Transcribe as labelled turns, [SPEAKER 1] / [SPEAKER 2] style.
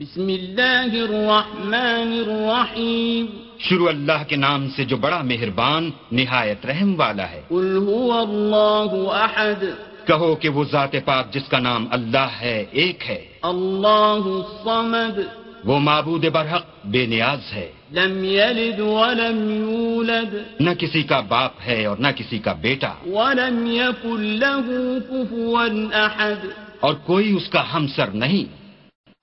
[SPEAKER 1] بسم الله الرحمن الرحيم
[SPEAKER 2] शुरू अल्लाह के नाम से जो बड़ा मेहरबान निहायत रहम वाला है
[SPEAKER 1] قل هو الله أحد
[SPEAKER 2] कहो कि वो जात पाक जिसका नाम अल्लाह है एक है
[SPEAKER 1] الله الصمد
[SPEAKER 2] वो माबूद बरहक बेनियाज है
[SPEAKER 1] لم يلد ولم يولد
[SPEAKER 2] न किसी का बाप है और न किसी का बेटा
[SPEAKER 1] ولم يكن له كفوا أحد
[SPEAKER 2] और कोई उसका हमसर नहीं